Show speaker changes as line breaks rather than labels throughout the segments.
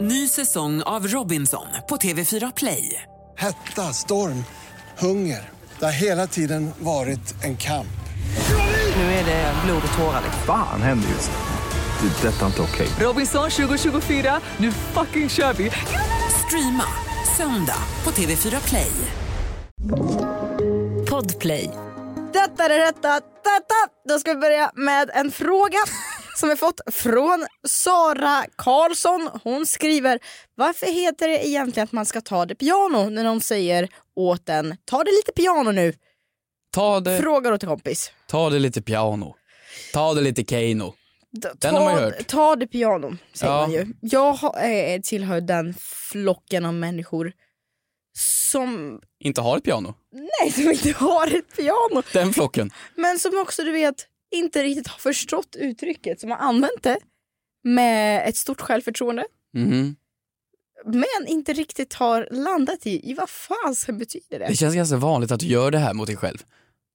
Ny säsong av Robinson på TV4 Play.
Hetta, storm, hunger. Det har hela tiden varit en kamp.
Nu är det blod och tårar. liksom.
Fan händer just nu. Det. är Detta är inte okej.
Robinson 2024, nu fucking kör vi! Streama söndag på TV4 Play. Podplay.
Detta, detta, detta. Då ska vi börja med en fråga som vi fått från Sara Karlsson. Hon skriver, varför heter det egentligen att man ska ta det piano när någon säger åt en, ta det lite piano nu?
Ta det,
Frågar åt en kompis.
ta det lite piano. Ta det lite Keino.
D- Ta,
Den har man ju hört.
ta det piano, säger
Ja.
man ju. Jag har- eh, tillhör den flocken av människor som,
Inte har ett piano.
nej, som inte har ett piano.
Den flocken.
Men som också du vet inte riktigt har förstått uttrycket, som har använt det med ett stort självförtroende.
Mhm.
Men inte riktigt har landat i, i vad fan som betyder det?
Det känns ganska vanligt att du gör det här mot dig själv.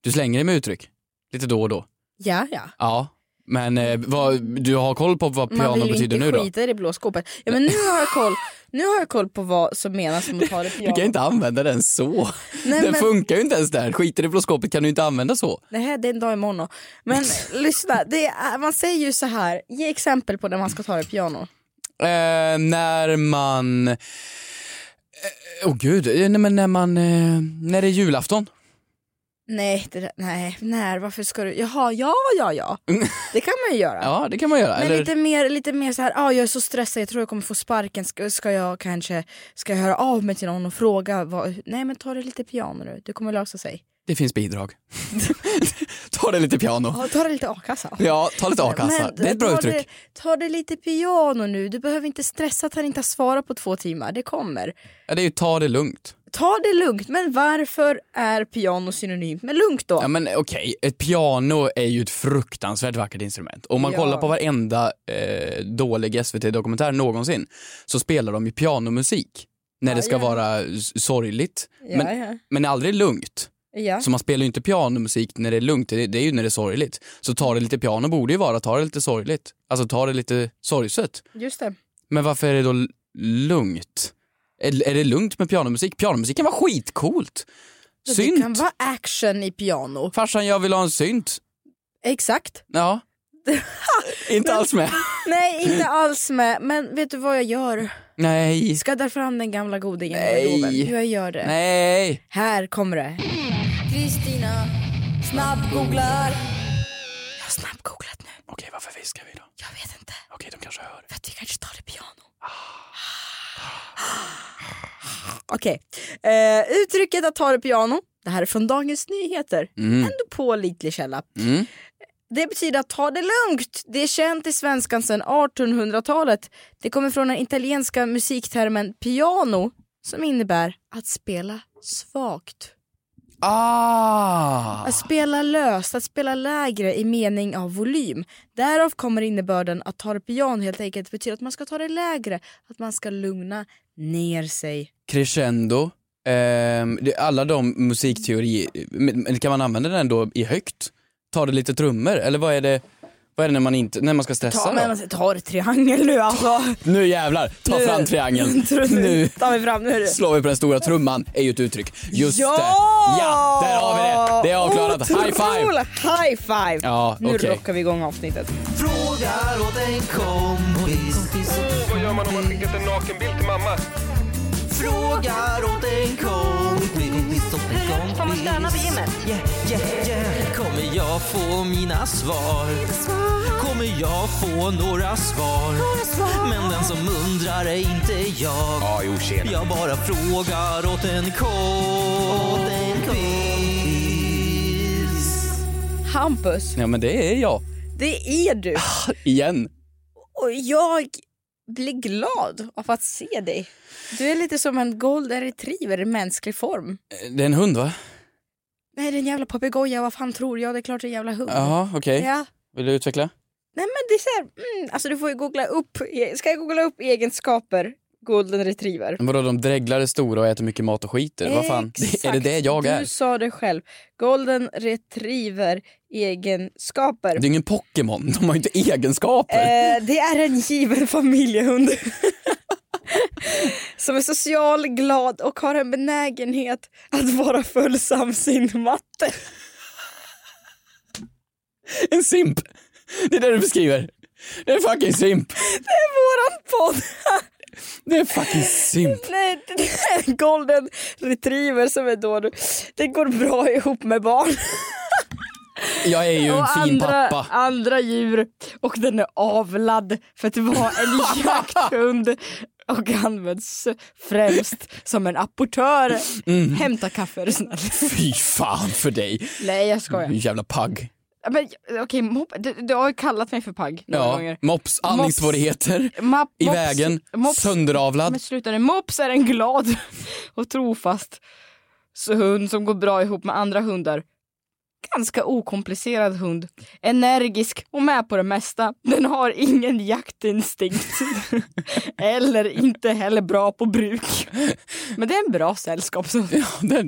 Du slänger dig med uttryck. Lite då och då.
Ja, ja.
Ja. Men eh, vad, du har koll på vad
Man
piano
vill ju
betyder
inte
nu då?
skita i det blå skåpet. Ja, men nu har jag koll. Nu har jag koll på vad som menas med att ta det
Du
piano.
kan ju inte använda den så.
Nej,
den
men-
funkar ju inte ens där. Skiter i blåskåpet kan du inte använda så.
Det här det är en dag imorgon. Men lyssna, det är, man säger ju så här. Ge exempel på när man ska ta det piano.
Eh, när man... Eh, oh gud, eh, nej, men när man... Eh, när det är julafton.
Nej, det, där- nej, när, varför ska du? Jaha, ja, ja, ja. Det kan man ju göra.
Ja, det kan man göra.
Men
Eller-
lite mer, lite mer så här, ah, jag är så stressad, jag tror jag kommer få sparken, ska, ska jag kanske ska jag höra av mig till någon och fråga? Vad, nej men ta det lite piano nu, det kommer lösa sig.
Det finns bidrag. ta det lite piano.
Ja, ta det lite a-kassa.
Ja, ta lite a-kassa.
Men
Det är ett bra
ta
uttryck.
Det, ta det lite piano nu, du behöver inte stressa att han inte har svarat på två timmar, det kommer.
Ja, det är ju ta det lugnt.
Ta det lugnt, men varför är piano synonymt med lugnt då?
Ja, men okej, ett piano är ju ett fruktansvärt vackert instrument. Om man
Ja.
kollar på varenda eh, dålig SVT-dokumentär någonsin så spelar de ju pianomusik när det ska
ja.
vara s- sorgligt.
Ja,
men,
ja.
men aldrig lugnt.
Ja.
Så man spelar ju inte pianomusik när det är lugnt, det, det är ju när det är sorgligt. Så ta det lite piano borde ju vara ta det lite sorgligt. Alltså ta det lite sorgset.
Just det.
Men varför är det då l- lugnt? Är, är det lugnt med pianomusik? Pianomusik kan vara skitcoolt.
Det kan
Synt.
vara action i piano.
Farsan, jag vill ha en synt.
Exakt.
Ja. Inte alls med.
Nej, inte alls med. Men vet du vad jag gör?
Nej.
Skadda fram den gamla godingen
Nej.
i garderoben. Jag gör det.
Nej.
Här kommer det. Kristina snabbgooglar. Jag har snabbgooglat nu.
Okej, varför viskar vi då?
Jag vet inte.
Okej, de kanske hör.
För att vi kanske tar det piano. Ah. Okej. Eh, uttrycket att ta det piano. Det här är från Dagens Nyheter. Ändå pålitlig källa.
Mm.
Det betyder att ta det lugnt. Det är känt i svenskan sedan 1800-talet. Det kommer från den italienska musiktermen piano som innebär att spela svagt.
Ah.
Att spela löst, att spela lägre i mening av volym. Därav kommer innebörden att ta det piano helt enkelt betyder att man ska ta det lägre, att man ska lugna ner sig.
Crescendo. Ehm, det, alla de musikteori... Men, men kan man använda den då i högt? Ta det lite trummor? Eller vad är det, vad är det när, man inte, när man ska stressa?
Ta,
då?
men, alltså, ta det triangel nu alltså.
Nu jävlar, ta
Nu-
fram triangeln.
Tror du-
Nu
tar vi fram nu.
slår vi på den stora trumman, är ju ett uttryck. Just
ja!
det! Ja, där har vi det! Det är avklarat. High five!
Otroligt. High five!
Ja,
nu
okej.
rockar vi igång avsnittet.
Frågar åt en kompis.
Vad gör man om man skickat en nakenbild till mamma?
Frågar åt en kompis. Åt en kompis. Får man stöna på gymmet? Yeah, yeah, yeah. Kommer jag få mina svar? Kommer jag få några svar? Men den som undrar är inte jag. Jag bara frågar åt en kompis.
Hampus,
Ja men det är jag,
det är du.
igen.
Och jag blir glad av att se dig. Du är lite som en golden retriever i mänsklig form.
Det är en hund va?
Nej, det är en jävla papegoja. Vad fan tror jag? Det är klart det är en jävla hund.
Jaha, okej.
Ja.
Vill du utveckla?
Nej, men det är så här, mm, alltså du får ju googla upp. e, Ska jag googla upp egenskaper golden retriever?
Vadå, de dreglar är stora och äter mycket mat och skiter? Vad fan,
Exakt.
är det det jag är?
Du sa det själv. Golden retriever egenskaper.
Det är ju ingen Pokémon, de har ju inte egenskaper.
Eh, det är en given familjehund. som är social, glad och har en benägenhet att vara följsam sin matte.
En simp. Det är det du beskriver. Det är en fucking simp.
Det är våran podd!
Det är en fucking simp.
Nej, det är en golden retriever som är då du. Det går bra ihop med barn
Jag är ju en
och
fin
andra,
pappa.
andra djur och den är avlad för att vara en jakthund och används främst som en apportör.
Mm.
Hämta kaffe är du snäll.
Fy fan för dig.
Nej jag skojar.
Du jävla pagg.
Men okej, mopp, du, du har ju kallat mig för pagg några
Ja,
gånger.
mops, andningssvårigheter.
Mapp,
I
mops-
vägen,
mops-
sönderavlad.
Men sluta nu, mops är en glad och trofast hund som går bra ihop med andra hundar. Ganska okomplicerad hund. Energisk och med på det mesta. Den har ingen jaktinstinkt. Eller inte heller bra på bruk. Men det är en bra sällskapshund.
Ja, den,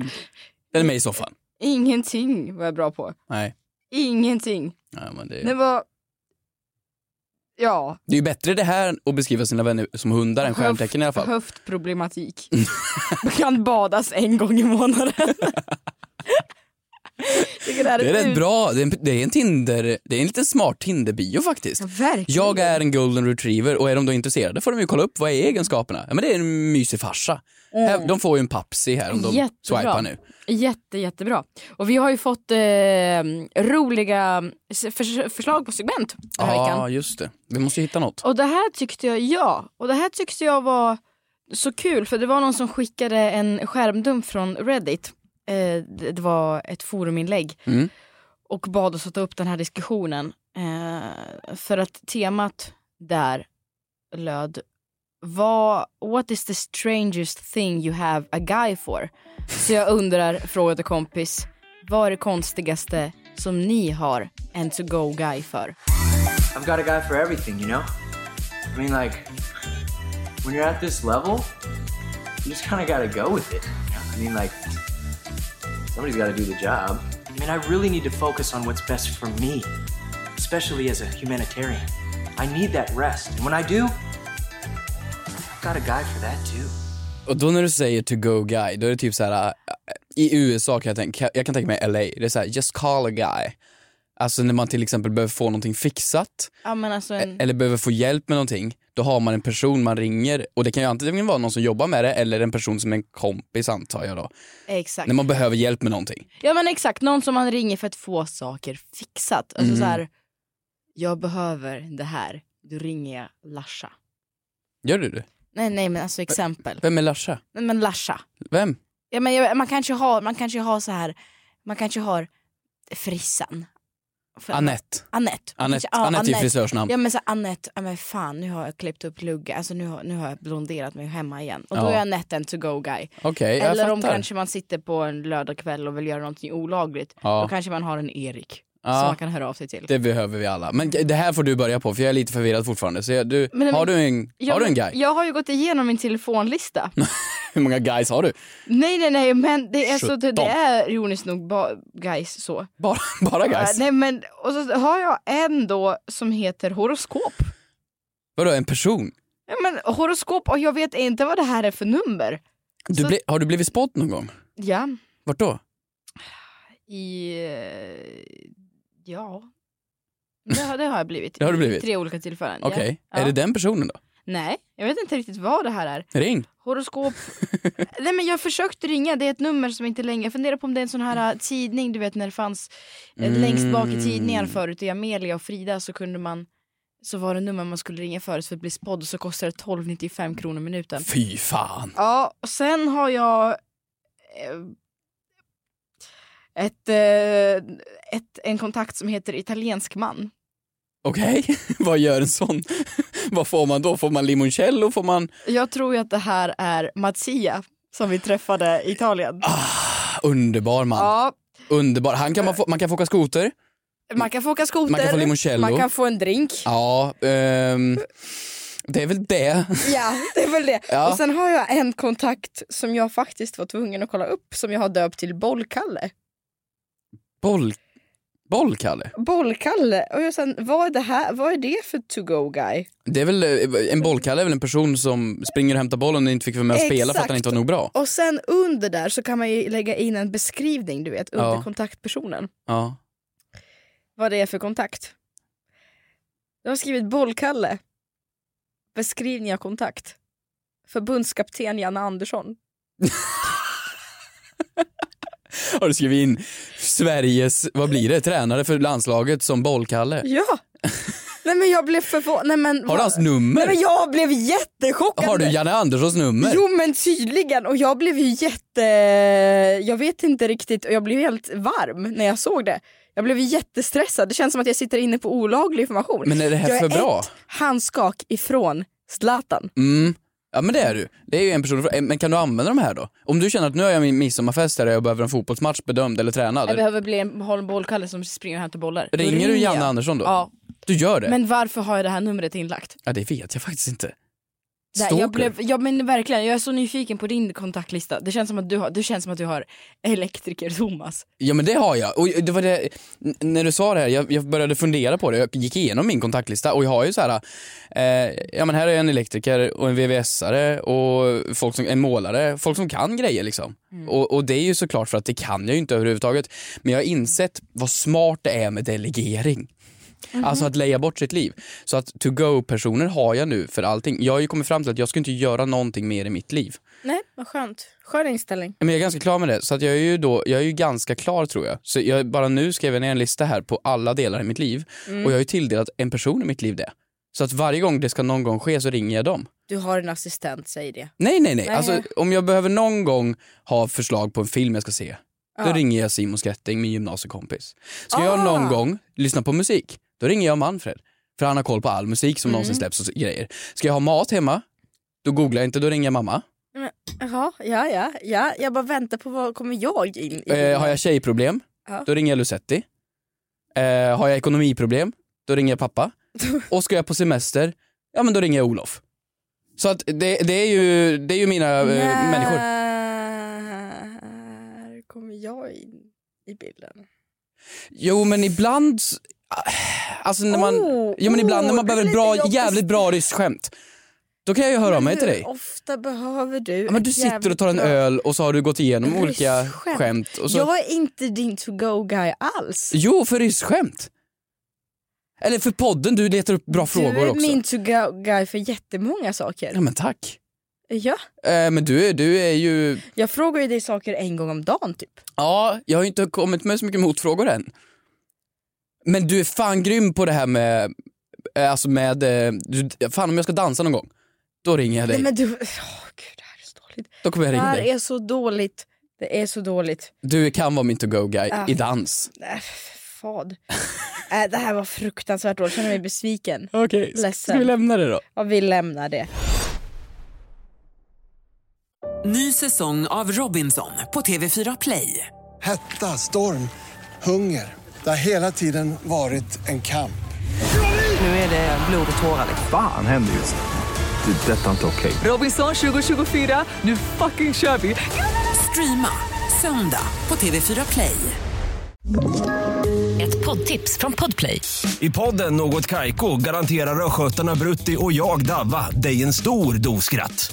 den är med i soffan.
Ingenting var jag bra på.
Nej,
Ingenting.
Nej men
Det
det,
var... Ja,
det är ju bättre det här att beskriva sina vänner som hundar än stjärntecken i alla fall.
Höftproblematik. kan badas en gång i månaden. Tycker här
Det är rätt
ut-
bra, det är en, det är en Tinder, det är en liten smart Tinder-bio faktiskt.
Verkligen.
Jag är en golden retriever och är de då intresserade får de ju kolla upp vad är egenskaperna. Ja, men det är en mysig farsa. Här- De får ju en papsi här om de
Jättebra.
swipar nu.
Jätte, jättebra. Och vi har ju fått eh, roliga s- förs- förslag på segment den här
Ja,
veckan.
just det. Vi måste ju hitta något.
Och det här tyckte jag, ja, och det här tyckte jag var så kul för det var någon som skickade en skärmdump från Reddit. Eh, det det var ett foruminlägg.
Mm.
och bad oss att ta upp den här diskussionen. Eh, för att temat där löd vad, What is the strangest thing you have a guy for? Så jag undrar, frågade kompis, vad är det konstigaste som ni har en to go guy för?
I've got a guy for everything, you know? I mean, like, when you're at this level, you just kind of got to go with it. You know? I mean, like, somebody's got to do the job. I mean, I really need to focus on what's best for me, especially as a humanitarian. I need that rest. And when I do, I've got a guy for that, too.
Och då när du säger to go guy, då är det typ så här äh, i USA kan jag tänka, jag kan tänka mig LA, det är så här just call a guy. Alltså när man till exempel behöver få någonting fixat
Ja men alltså en,
eller behöver få hjälp med någonting, då har man en person man ringer och det kan ju antingen vara någon som jobbar med det eller en person som är en kompis antar jag då.
exakt.
När man behöver hjälp med någonting.
Ja men exakt, någon som man ringer för att få saker fixat. Alltså
Mm.
så här, jag behöver det här, då ringer jag Larsa.
Gör du det?
Nej nej men alltså exempel.
Vem är Larsa?
Nej men Larsa.
Vem?
Ja, men, jag- man kanske har, man kanske har så här, man kanske har frissan. För-
Annette.
Annette.
Annette,
Ja,
Annette är ju frisörsnamn.
Ja men så här, Annette, ja, men fan nu har jag klippt upp lugga, alltså nu har, nu har jag blonderat mig hemma igen. Och då
Ja.
är Annette en to go guy.
Okej, jag
Eller
fattar.
om kanske man sitter på en lördagkväll och vill göra någonting olagligt,
Ja.
då kanske man har en Erik
Ja.
som man kan höra av sig till.
Det behöver vi alla. Men det här får du börja på för jag är lite förvirrad fortfarande. Så jag, du,
Men- men-
har, du en,
Ja,
har du en
men
guy?
Jag har ju gått igenom min telefonlista.
Hur många guys har du?
nej nej nej men det är, så, det, det
Sjutton.
är ironiskt nog ba- guys så.
Bara, bara
Ja,
guys?
nej, men, och så har jag en då som heter horoskop.
Vadå en person?
Ja, men, horoskop och jag vet inte vad det här är för nummer.
Du
Så-
ble, har du blivit spådd någon gång?
Ja.
Vart då?
I... eh, Ja. Det har, det har jag blivit.
Det har du
I
blivit?
Tre olika tillfällen.
Okej,
Ja.
är
Ja.
det den personen då?
Nej, jag vet inte riktigt vad det här är.
Ring!
Horoskop. Nej men jag försökte ringa, det är ett nummer som inte längre, jag funderar på om det är en sån här eh, tidning du vet när det fanns eh, längst bak i tidningar förut i Amelia och Frida så kunde man så var det nummer man skulle ringa förut för att bli spådd och så kostade det 12,95 kronor minuten.
Fy fan!
Ja, och sen har jag eh, ett, eh, ett, en kontakt som heter italiensk man.
Okej, vad gör en sån? vad får man då? Får man limoncello? Får man...
Jag tror ju att det här är Mattia som vi träffade i Italien.
Ah, underbar man!
Ja,
Underbar. Han kan man, få, man kan få åka skoter.
Man kan få åka skoter,
Man kan få limoncello.
man kan få en drink. Ja,
Ja, ehm, det är väl det.
det är väl det.
Ja.
Och sen har jag en kontakt som jag faktiskt var tvungen att kolla upp som jag har döpt till Bollkalle.
Boll... Boll, Kalle?
Bollkalle. Och jag sen, vad är det här? Vad är det för to go guy?
Det är väl, eh, en bollkalle är väl en person som springer och hämtar bollen och inte fick vara med och spela för att
Exakt.
han inte var nog bra?
Och sen under där så kan man ju lägga in en beskrivning du vet under
Ja.
kontaktpersonen.
Ja.
Vad det är för kontakt. Jag har skrivit bollkalle. Beskrivning av kontakt. Förbundskapten Janne Andersson.
Har du skrivit in Sveriges, vad blir det, tränare för landslaget som bollkalle?
Ja! Nej men jag blev förvånad. Nej, men,
Har du
vad-
hans nummer?
Nej, men jag blev jättechockad.
Har du Janne Anderssons nummer?
Jo men tydligen och jag blev ju jätte, jag vet inte riktigt och jag blev helt varm när jag såg det. Jag blev ju jättestressad, det känns som att jag sitter inne på olaglig information.
Men är det här
jag
för bra?
ett handskak ifrån Zlatan.
Mm. Ja men det är du. Det är ju en person eh, Men kan du använda de här då? Om du känner att nu har jag min midsommarfest här och jag behöver en fotbollsmatch bedömd eller tränad.
Jag behöver bli en ha en bollkalle som springer och hämtar bollar. Då
Ringer du
ringer
Janne
jag.
Andersson då?
Ja,
Du gör det?
men varför har jag det här numret inlagt?
Ja det vet jag faktiskt inte.
Det här,
Stalker.
jag blev, ja men verkligen, jag är så nyfiken på din kontaktlista. Det känns som att du har, det känns som att du har elektriker Thomas.
Ja men det har jag. Och det var det, n- när du sa det här, jag, jag började fundera på det. Jag gick igenom min kontaktlista och jag har ju så här, eh, ja men här är en elektriker och en VVS-are och folk som, en målare, folk som kan grejer liksom. Och, och det är ju såklart för att det kan jag ju inte överhuvudtaget. Men jag har insett vad smart det är med delegering. Alltså att leja bort sitt liv. Så att to go-personer har jag nu för allting. Jag har ju kommit fram till att jag ska inte göra någonting mer i mitt liv.
Nej, vad skönt. Skön inställning.
Men jag är ganska klar med det, så att jag är ju då, jag är ju ganska klar tror jag. Så jag bara nu skrev jag ner en lista här på alla delar i mitt liv
Mm.
och jag har ju tilldelat en person i mitt liv det. Så att varje gång det ska någon gång ske så ringer jag dem.
Du har en assistent, säg det.
Nej, nej, nej.
Nej.
Alltså, om jag behöver någon gång ha förslag på en film jag ska se, då
Ja.
ringer jag Simon Skrätting, min gymnasiekompis. Ska jag
Ah.
någon gång lyssna på musik, då ringer jag Manfred. För han har koll på all
Mm.
musik som någonsin släpps och så- grejer. Ska jag ha mat hemma, då googlar jag inte, då ringer jag mamma.
Ja, ja, ja, ja. Jag bara väntar på vad kommer jag in i.
Eh, har jag tjejproblem,
Ja.
då ringer jag Lucetti. Eh, har jag ekonomiproblem, då ringer jag pappa. Och ska jag på semester, ja men då ringer jag Olof. Så att det, det, är, ju, det är ju mina eh, människor.
När kommer jag in i bilden?
Jo men ibland, s- alltså när man,
Oh,
jo, men ibland när
oh,
man
det
behöver
är
ett bra,
lite jobbigt.
jävligt bra ryskt skämt. Då kan jag ju höra av mig till dig.
Hur ofta behöver du
Ja, men du
ett
sitter och
jävligt
tar en
bra-
öl och så har du gått igenom
Ryskt
olika
skämt.
skämt. Och så...
Jag är inte din to go guy alls.
Jo, för ryskskämt. Eller för podden, du letar upp bra
du
frågor
är
också.
min to go guy för jättemånga
Ja
saker.
men tack.
Ja,
Eh, men du, är- du är ju...
jag frågar ju dig saker en gång om dagen typ.
Ja, jag har ju inte kommit med så mycket motfrågor än. Men du är fan grym på det här med... eh, Alltså med... eh, Du, fan om jag ska dansa någon gång, då ringer jag dig.
Nej men du, åh gud det här är så dåligt.
Då kommer jag
Det
ringa
här
dig.
är så dåligt. Det är så dåligt.
Du kan vara min to-go-guy i dans.
Nej, fad. äh, det här var fruktansvärt dåligt, jag känner mig besviken.
Okej,
ska
ska
Ledsen.
vi
vi
lämna det då?
Ja, vi lämnar det.
Ny säsong av Robinson på TV4 Play.
Hetta, storm, hunger. Det har hela tiden varit en kamp.
Nu är det blod och tårar.
Fan händer just det. Det är detta inte okej.
Robinson 2024, nu fucking kör vi! Streama söndag på TV4 Play.
Ett poddtips från Podplay.
I podden Något Kaiko garanterar östgötarna Brutti och jag, Davva, dig en stor dos skratt.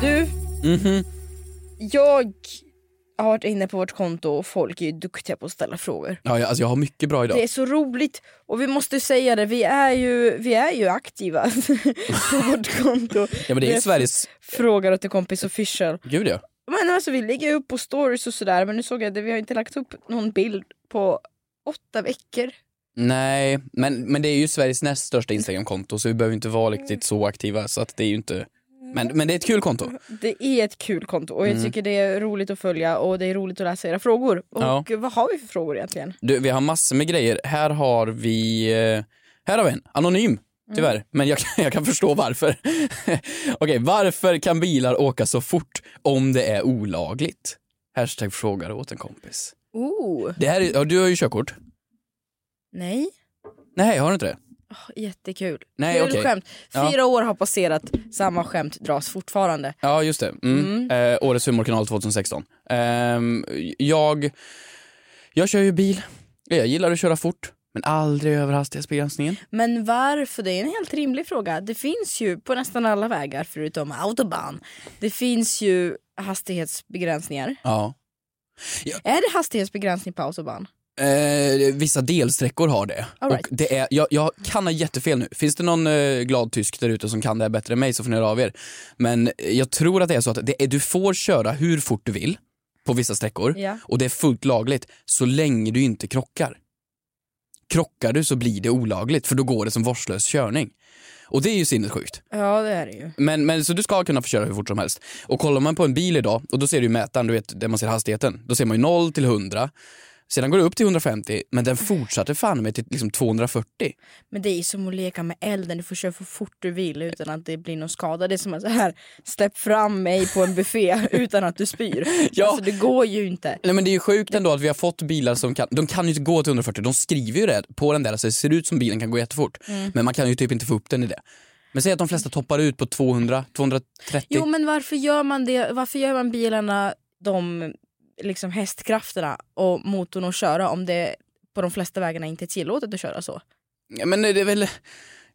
Du,
Mhm.
jag har varit inne på vårt konto och folk är ju duktiga på att ställa frågor.
Ja, jag, alltså jag har mycket bra idag.
Det är så roligt och vi måste säga det, vi är ju, vi är ju aktiva på vårt konto.
Ja men det är ju Sveriges...
Frågar åt en kompis official.
Gud ja.
Men alltså vi lägger upp på stories och sådär men nu såg jag att vi har inte lagt upp någon bild på åtta veckor.
Nej, men, men det är ju Sveriges näst största Instagramkonto så vi behöver inte vara riktigt så aktiva så att det är ju inte... Men, men det är ett kul konto.
Det är ett kul konto och jag
Mm.
tycker det är roligt att följa och det är roligt att läsa era frågor. Och vad har vi för frågor egentligen?
Du, vi har massor med grejer. Här har vi... eh, Här har vi en. Anonym. Tyvärr, men jag, kan- jag kan förstå varför. Okej, varför kan bilar åka så fort om det är olagligt? Hashtag frågar åt en kompis.
Oh,
Det här är, ja, du har ju körkort.
nej.
Nej, har du inte det?
Jättekul.
Nej,
Kul
okej.
skämt.
Ja.
Fyra år har passerat, samma skämt dras fortfarande.
Ja, just det. Mm. Eh, årets humorkanal 2016. Ehm, jag, jag kör ju bil. Jag gillar att köra fort, men aldrig över hastighetsbegränsningen.
Men varför? Det är en helt rimlig fråga. Det finns ju på nästan alla vägar förutom autobahn. Det finns ju hastighetsbegränsningar.
Ja.
Är det hastighetsbegränsning på autobahn?
Eh, vissa delsträckor har det.
All right.
Och det är, jag, jag kan ha jättefel nu. Finns det någon eh, glad tysk där ute som kan det här bättre än mig så får ni höra av er. Men eh, jag tror att det är så att det är, du får köra hur fort du vill på vissa sträckor
Ja.
och det är fullt lagligt så länge du inte krockar. Krockar du så blir det olagligt för då går det som vårdslös körning. Och det är ju sinnessjukt.
Ja det är det ju.
Men, men så du ska kunna få köra hur fort som helst. Och kollar man på en bil idag, och då ser du ju mätaren, du vet, där man ser hastigheten. Då ser man ju 0 till 100. Sedan går det upp till 150, men den fortsatte fan med till liksom 240.
Men det är som att leka med elden, du får köra för fort du vill utan att det blir någon skada. Det är som att så här, släpp fram mig på en buffé utan att du spyr.
Ja.
Alltså det går ju inte.
Nej men det är ju sjukt ändå att vi har fått bilar som kan, de kan ju inte gå till 140, de skriver ju det på den där så det ser ut som bilen kan gå jättefort. Men man kan ju typ inte få upp den i det. Men säg att de flesta toppar ut på 200, 230.
Jo men varför gör man det? Varför gör man bilarna de liksom hästkrafterna och motorn att köra om det på de flesta vägarna inte är tillåtet att köra så?
Ja, men det är väl...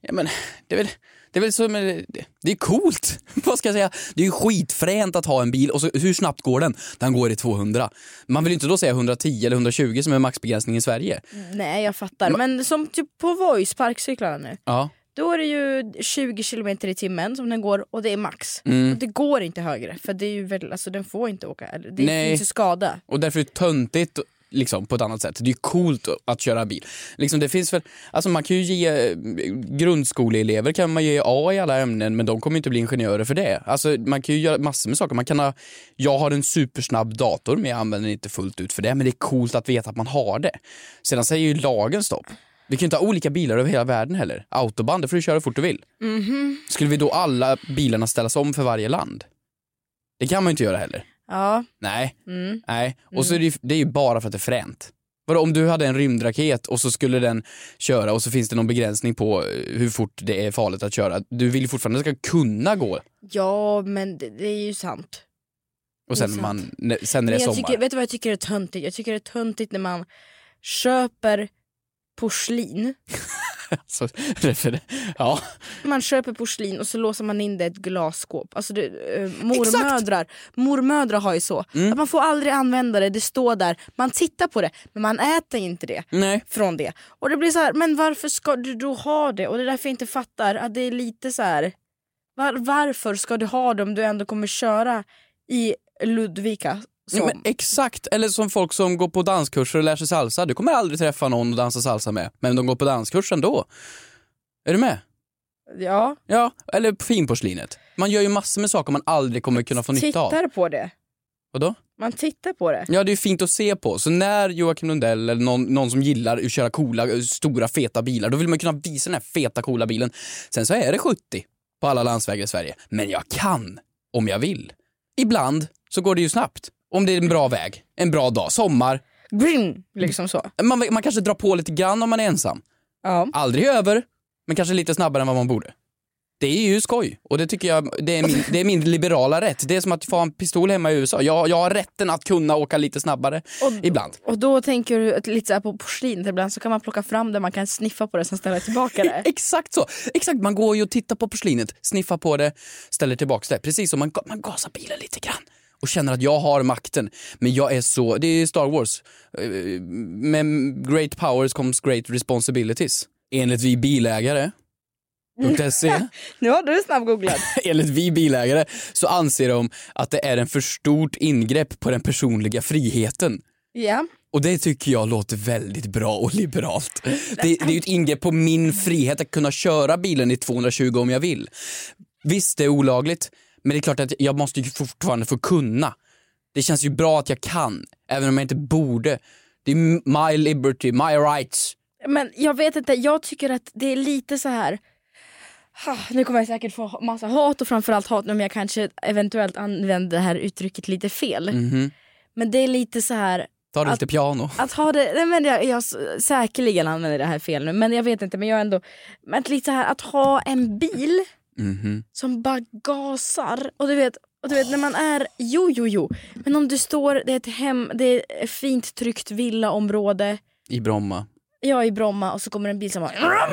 Ja, men, det är väl... Det är väl så, men det- det är coolt! Vad ska jag säga? Det är ju skitfränt att ha en bil och så, hur snabbt går den? Den går i 200. Man vill ju inte då säga 110 eller 120 som är maxbegränsning i Sverige.
Nej jag fattar. Men som typ på Voice, parkcyklarna nu.
Ja.
Då är det ju 20 kilometer i timmen som den går och det är max.
Mm.
Och det går inte högre för det är ju väl, alltså den får inte åka, eller det
Nej.
är inte skada.
Och därför är det töntigt liksom, på ett annat sätt. Det är ju coolt att köra bil. Liksom, det finns väl, alltså, man kan ju ge eh, grundskoleelever kan man ge A i alla ämnen men de kommer ju inte bli ingenjörer för det. Alltså, man kan ju göra massor med saker. Man kan ha, jag har en supersnabb dator men jag använder den inte fullt ut för det. Men det är coolt att veta att man har det. Sedan säger ju lagen stopp. Vi kan ju inte ha olika bilar över hela världen heller. Autobahn, där får du köra hur fort du vill. Skulle vi då alla bilarna ställas om för varje land? Det kan man ju inte göra heller.
Ja,
Nej. Nej. Och
Mm.
så är det, ju, det är ju bara för att det är fränt. Vadå, om du hade en rymdraket och så skulle den köra och så finns det någon begränsning på eh, hur fort det är farligt att köra. Du vill ju fortfarande att det ska kunna gå.
ja men det, det är ju sant.
Och
Det
sen,
är
man, när- sen när
Men
det är
jag
sommar.
tycker, vet du vad jag tycker är töntigt? Jag tycker det är töntigt när man köper porslin.
Så, refer- ja.
Man köper porslin och så låser man in det i ett glasskåp. Alltså det, eh, mormödrar, mormödrar har ju så.
Mm.
Att man får aldrig använda det, det står där. Man tittar på det men man äter inte det.
Nej.
från det. Och det blir så här, men varför ska du då ha det? Och det är därför jag inte fattar att det är lite så här. Var, varför ska du ha det om du ändå kommer köra i Ludvika? Som,
Ja, men exakt, eller som folk som går på danskurser och lär sig salsa. Du kommer aldrig träffa någon att dansa salsa med, men de går på danskurs ändå. Är du med?
ja,
Ja, eller på finporslinet. Man gör ju massor med saker man aldrig kommer kunna få nytta av.
tittar på det.
Vadå?
Man tittar på det.
Ja, det är fint att se på. Så när Joakim Lundell eller någon, någon som gillar att köra coola, eh, stora, feta bilar, då vill man kunna visa den här feta, coola bilen. Sen så är det 70 på alla landsvägar i Sverige. Men jag kan om jag vill. Ibland så går det ju snabbt. Om det är en bra väg, en bra dag, sommar.
Gring, liksom så.
Man, man kanske drar på lite grann om man är ensam.
Ja.
Aldrig över, men kanske lite snabbare än vad man borde. Det är ju skoj och det tycker jag det är min, det är min liberala rätt. Det är som att få en pistol hemma i USA. Jag, jag har rätten att kunna åka lite snabbare ibland.
Och då tänker du att lite så här på porslinet ibland så kan man plocka fram det, man kan sniffa på det sen ställa tillbaka det.
Exakt så! Exakt, man går ju och tittar på porslinet, sniffar på det, ställer tillbaks det. Precis som man, ga- man gasar bilen lite grann och känner att jag har makten. Men jag är så, det är Star Wars. Eh, Med great powers comes great responsibilities. Enligt vi bilägare. .se.
Nu har du snabbgooglat.
Enligt vi bilägare så anser de att det är en för stort ingrepp på den personliga friheten.
Ja.
Och det tycker jag låter väldigt bra och liberalt. Det, det är ju ett ingrepp på min frihet att kunna köra bilen i 220 om jag vill. Visst, det är olagligt, Men det är klart att jag måste ju fortfarande få kunna. Det känns ju bra att jag kan, även om jag inte borde. Det är my liberty, my rights.
Men jag vet inte, jag tycker att det är lite så här. Ah, Nu kommer jag säkert få massa hat och framförallt hat om jag kanske eventuellt använder det här uttrycket lite fel.
Mhm.
Men det är lite så här
Ta det
Att-
lite piano.
att ha det, nej men jag, jag s- säkerligen använder det här fel nu men jag vet inte men jag är ändå, men att lite så här att ha en bil
Mhm.
som bara gasar och du vet, och du vet när man är, jo jo jo, men om du står, det är ett hem, det är ett fint tryggt villaområde,
I Bromma.
jag är i Bromma och så kommer en bil som bara...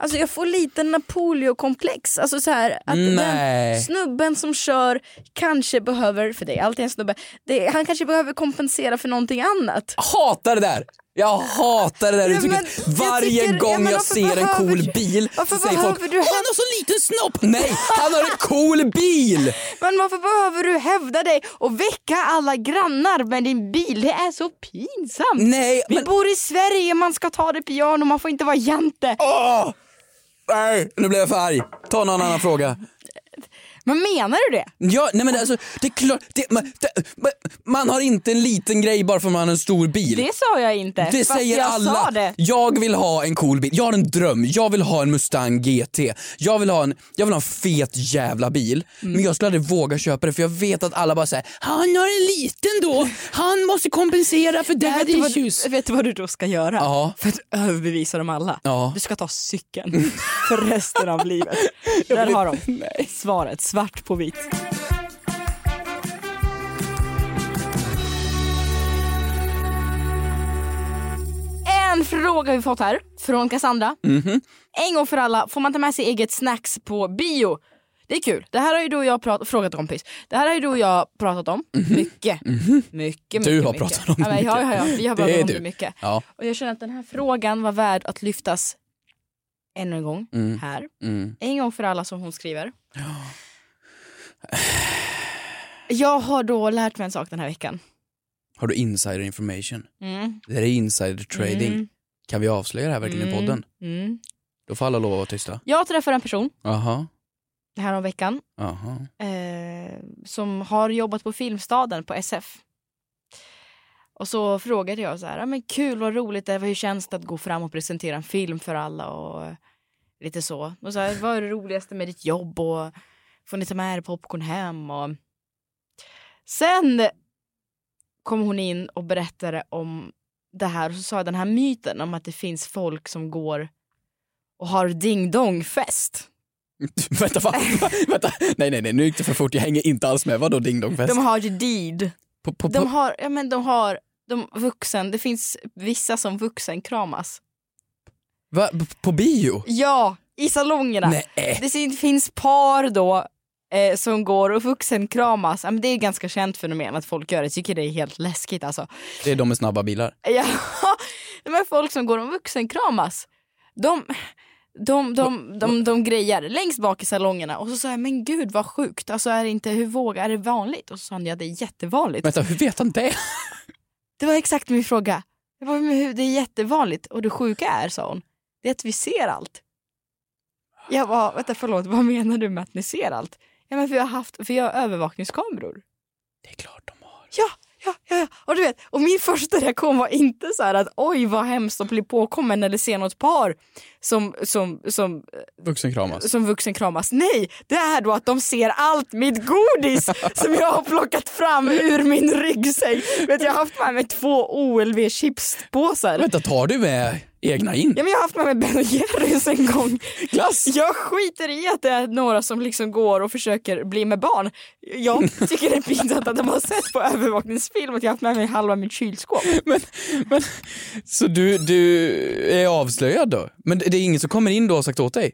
Alltså jag får lite Napoleon-komplex. Alltså så här, att den
Nej.
snubben som kör kanske behöver, för det är alltid en snubbe, det, han kanske behöver kompensera för någonting annat.
Jag hatar det där! Jag hatar det där
Ja,
uttrycket.
men jag
Varje
tycker- ja,
gång
men
jag
varför
ser en cool
behöver du-
bil
varför
så säger folk
behöver du
"Åh, han har så liten snopp! Nej, han har en cool bil!
Men varför behöver du hävda dig och väcka alla grannar med din bil? Det är så pinsamt.
Nej,
Vi
men
bor i Sverige, man ska ta det piano, man får inte vara jante.
åh! Nej, nu blev jag för arg. Ta någon annan fråga.
Men menar du det?
Ja, nej men alltså, det är klart, det, man, det, man- man har inte en liten grej bara för att man har en stor bil.
Det sa jag inte.
Det
fast
säger
jag
alla.
Sa det.
Jag vill ha en cool bil. Jag har en dröm. Jag vill ha en Mustang GT. Jag vill ha en, jag vill ha en fet jävla bil. Men jag skulle aldrig våga köpa det för jag vet att alla bara säger han har en liten då. Han måste kompensera för
vet,
daddy
du vad,
issues.
vet du vad du då ska göra?
Ja.
För att överbevisa dem alla.
Ja.
Du ska ta cykeln för resten av livet. Där har de svaret, svart på vitt. En fråga vi fått här från Cassandra.
Mhm.
En gång för alla, får man ta med sig eget snacks på bio? Det är kul. Det här har ju du och jag prat- frågat kompis. Det här har ju du och jag pratat om mycket. mycket, mycket.
Mhm. Du har
mycket.
pratat om
ja,
det
men, ja, ja,
mycket.
ja. Vi har
Det
pratat
är
om det
du.
mycket.
Ja.
Och jag känner att den här frågan var värd att lyftas ännu en gång
Mm.
här.
Mm.
En gång för alla som hon skriver. Jag har då lärt mig en sak den här veckan.
Har du insider information?
Mm.
Det här är insider trading.
Mm.
Kan vi avslöja det här verkligen i podden?
Mm.
Då får alla lov att vara tysta.
Jag träffar en person
Aha.
här om veckan
Aha.
eh, som har jobbat på Filmstaden på SF. Och så frågade jag så här, "Ja, men kul vad roligt det var, hur känns det att gå fram och presentera en film för alla och eh, lite så. Och så här, vad är det roligaste med ditt jobb och får ni ta med er popcorn hem och sen kom hon in och berättade om det här och så sa jag den här myten om att det finns folk som går och har ding-dong-fest.
vänta, va? vänta. Nej, nej, nej, nu gick det för fort. Jag hänger inte alls med. Vadå ding dong fest?
De har ju deed.
på, på, på.
De har, ja men de har, de vuxen, det finns vissa som vuxenkramas.
Va? P- på bio?
Ja, i salongerna.
Nej.
Det sin- finns par då eh, som går och vuxenkramas. Ja, men det är ett ganska känt fenomen att folk gör det. Jag tycker det är helt läskigt alltså.
Det är de med snabba bilar.
Ja, de här folk som går och vuxenkramas. De, de, de, de, de grejar längst bak i salongerna och så sa jag men gud vad sjukt. Alltså är det inte, hur vågar, är det vanligt? Och så sa han ja det är jättevanligt.
Vänta, hur vet han det?
Det var exakt min fråga. Jag bara, men hur- det är jättevanligt och det sjuka är, sa hon, det är att vi ser allt. Jag bara, vänta förlåt, vad menar du med att ni ser allt? Ja men vi har haft, vi har övervakningskameror.
Det är klart de har.
Ja, ja, ja, ja. Och du vet, och min första reaktion var inte så här att oj vad hemskt att bli påkommen eller se något par som, som, som
Vuxenkramas.
som vuxen kramas. Nej, det är då att de ser allt mitt godis som jag har plockat fram ur min ryggsäck. Vet, jag har haft med mig två OLV chipspåsar.
Vänta, tar du med egna in?
Ja, men jag har haft med mig Ben Jerrys en gång.
Glass!
Jag skiter i att det är några som liksom går och försöker bli med barn. Jag tycker det är pinsamt att de har sett på övervakningsfilm att jag har haft med mig halva mitt kylskåp.
Men, men, så du, du är avslöjad då? Men det det är ingen som kommer in då och har sagt åt dig?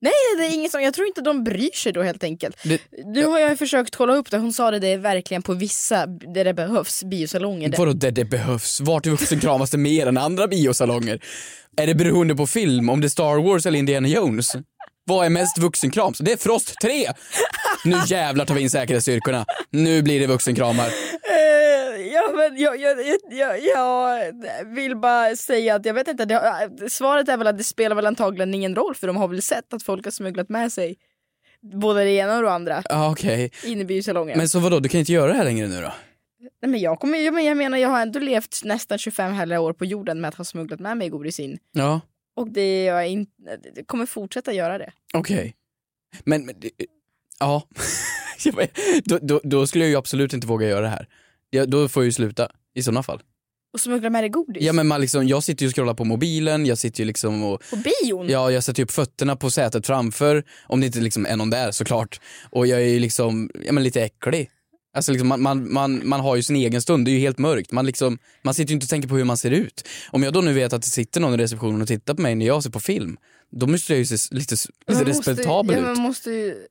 Nej, det är inget som, jag tror inte de bryr sig då helt enkelt.
Det-
Nu har jag försökt kolla upp det, hon sa det, det är verkligen på vissa, där det behövs, biosalonger. där-
Vadå det, det behövs? Vart i vuxenkramas det mer än andra biosalonger? Är det beroende på film? Om det är Star Wars eller Indiana Jones? Vad är mest vuxenkrams? Det är Frost 3! Nu jävlar tar vi in säkerhetsstyrkorna. Nu blir det vuxenkramar.
Eh, ja, men jag, jag, jag, jag, jag vill bara säga att jag vet inte. Det, svaret är väl att det spelar väl antagligen ingen roll för de har väl sett att folk har smugglat med sig både det ena och det andra
Ja, okej.
inne i biosalongen.
Men så vadå, du kan inte göra det här längre nu då?
Nej, men jag, kommer, ju- men jag menar, jag har ändå levt nästan 25 hela år på jorden med att ha smugglat med mig godis in.
Ja,
Och det gör jag in, det kommer fortsätta göra det.
okej. Men, men, det- ja. Jag bara- då, då, då skulle jag ju absolut inte våga göra det här. Ja, då får jag ju sluta i sådana fall.
Och smuggla med dig godis.
Ja men man liksom, jag sitter ju och scrollar på mobilen, jag sitter ju liksom och
På bion?
Ja, jag sätter upp fötterna på sätet framför, om det inte liksom är någon där såklart. Och jag är ju liksom, ja men lite äcklig. Alltså liksom, man, man, man, man har ju sin egen stund, det är ju helt mörkt. Man, liksom, man sitter ju inte och tänker på hur man ser ut. Om jag då nu vet att det sitter någon i receptionen och tittar på mig när jag ser på film, då måste jag ju se s- lite, s- lite
Man måste-
respektabel
ja, Man
ut.
måste ju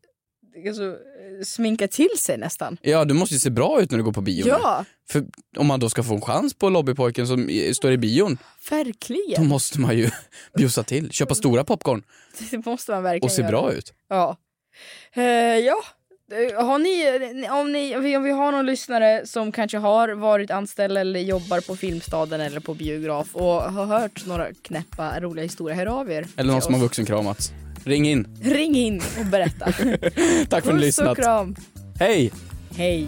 alltså, sminka till sig nästan.
Ja, du måste ju se bra ut när du går på bio. nu.
Ja,
För om man då ska få en chans på lobbypojken som i- står i bion, då
verkligen.
måste man ju bjussa till, köpa stora popcorn
Det måste man verkligen
och se
göra.
bra ut.
Ja. Eh, ja. Eh, Har ni, om, ni, om vi har någon lyssnare som kanske har varit anställd eller jobbar på Filmstaden eller på biograf och har hört några knäppa roliga historier, hör av er.
Eller någon
till
som har
oss.
vuxenkramats. Ring in.
Ring in och berätta.
Tack för att ni
Puss och
lyssnat.
kram.
Hej!
Hej.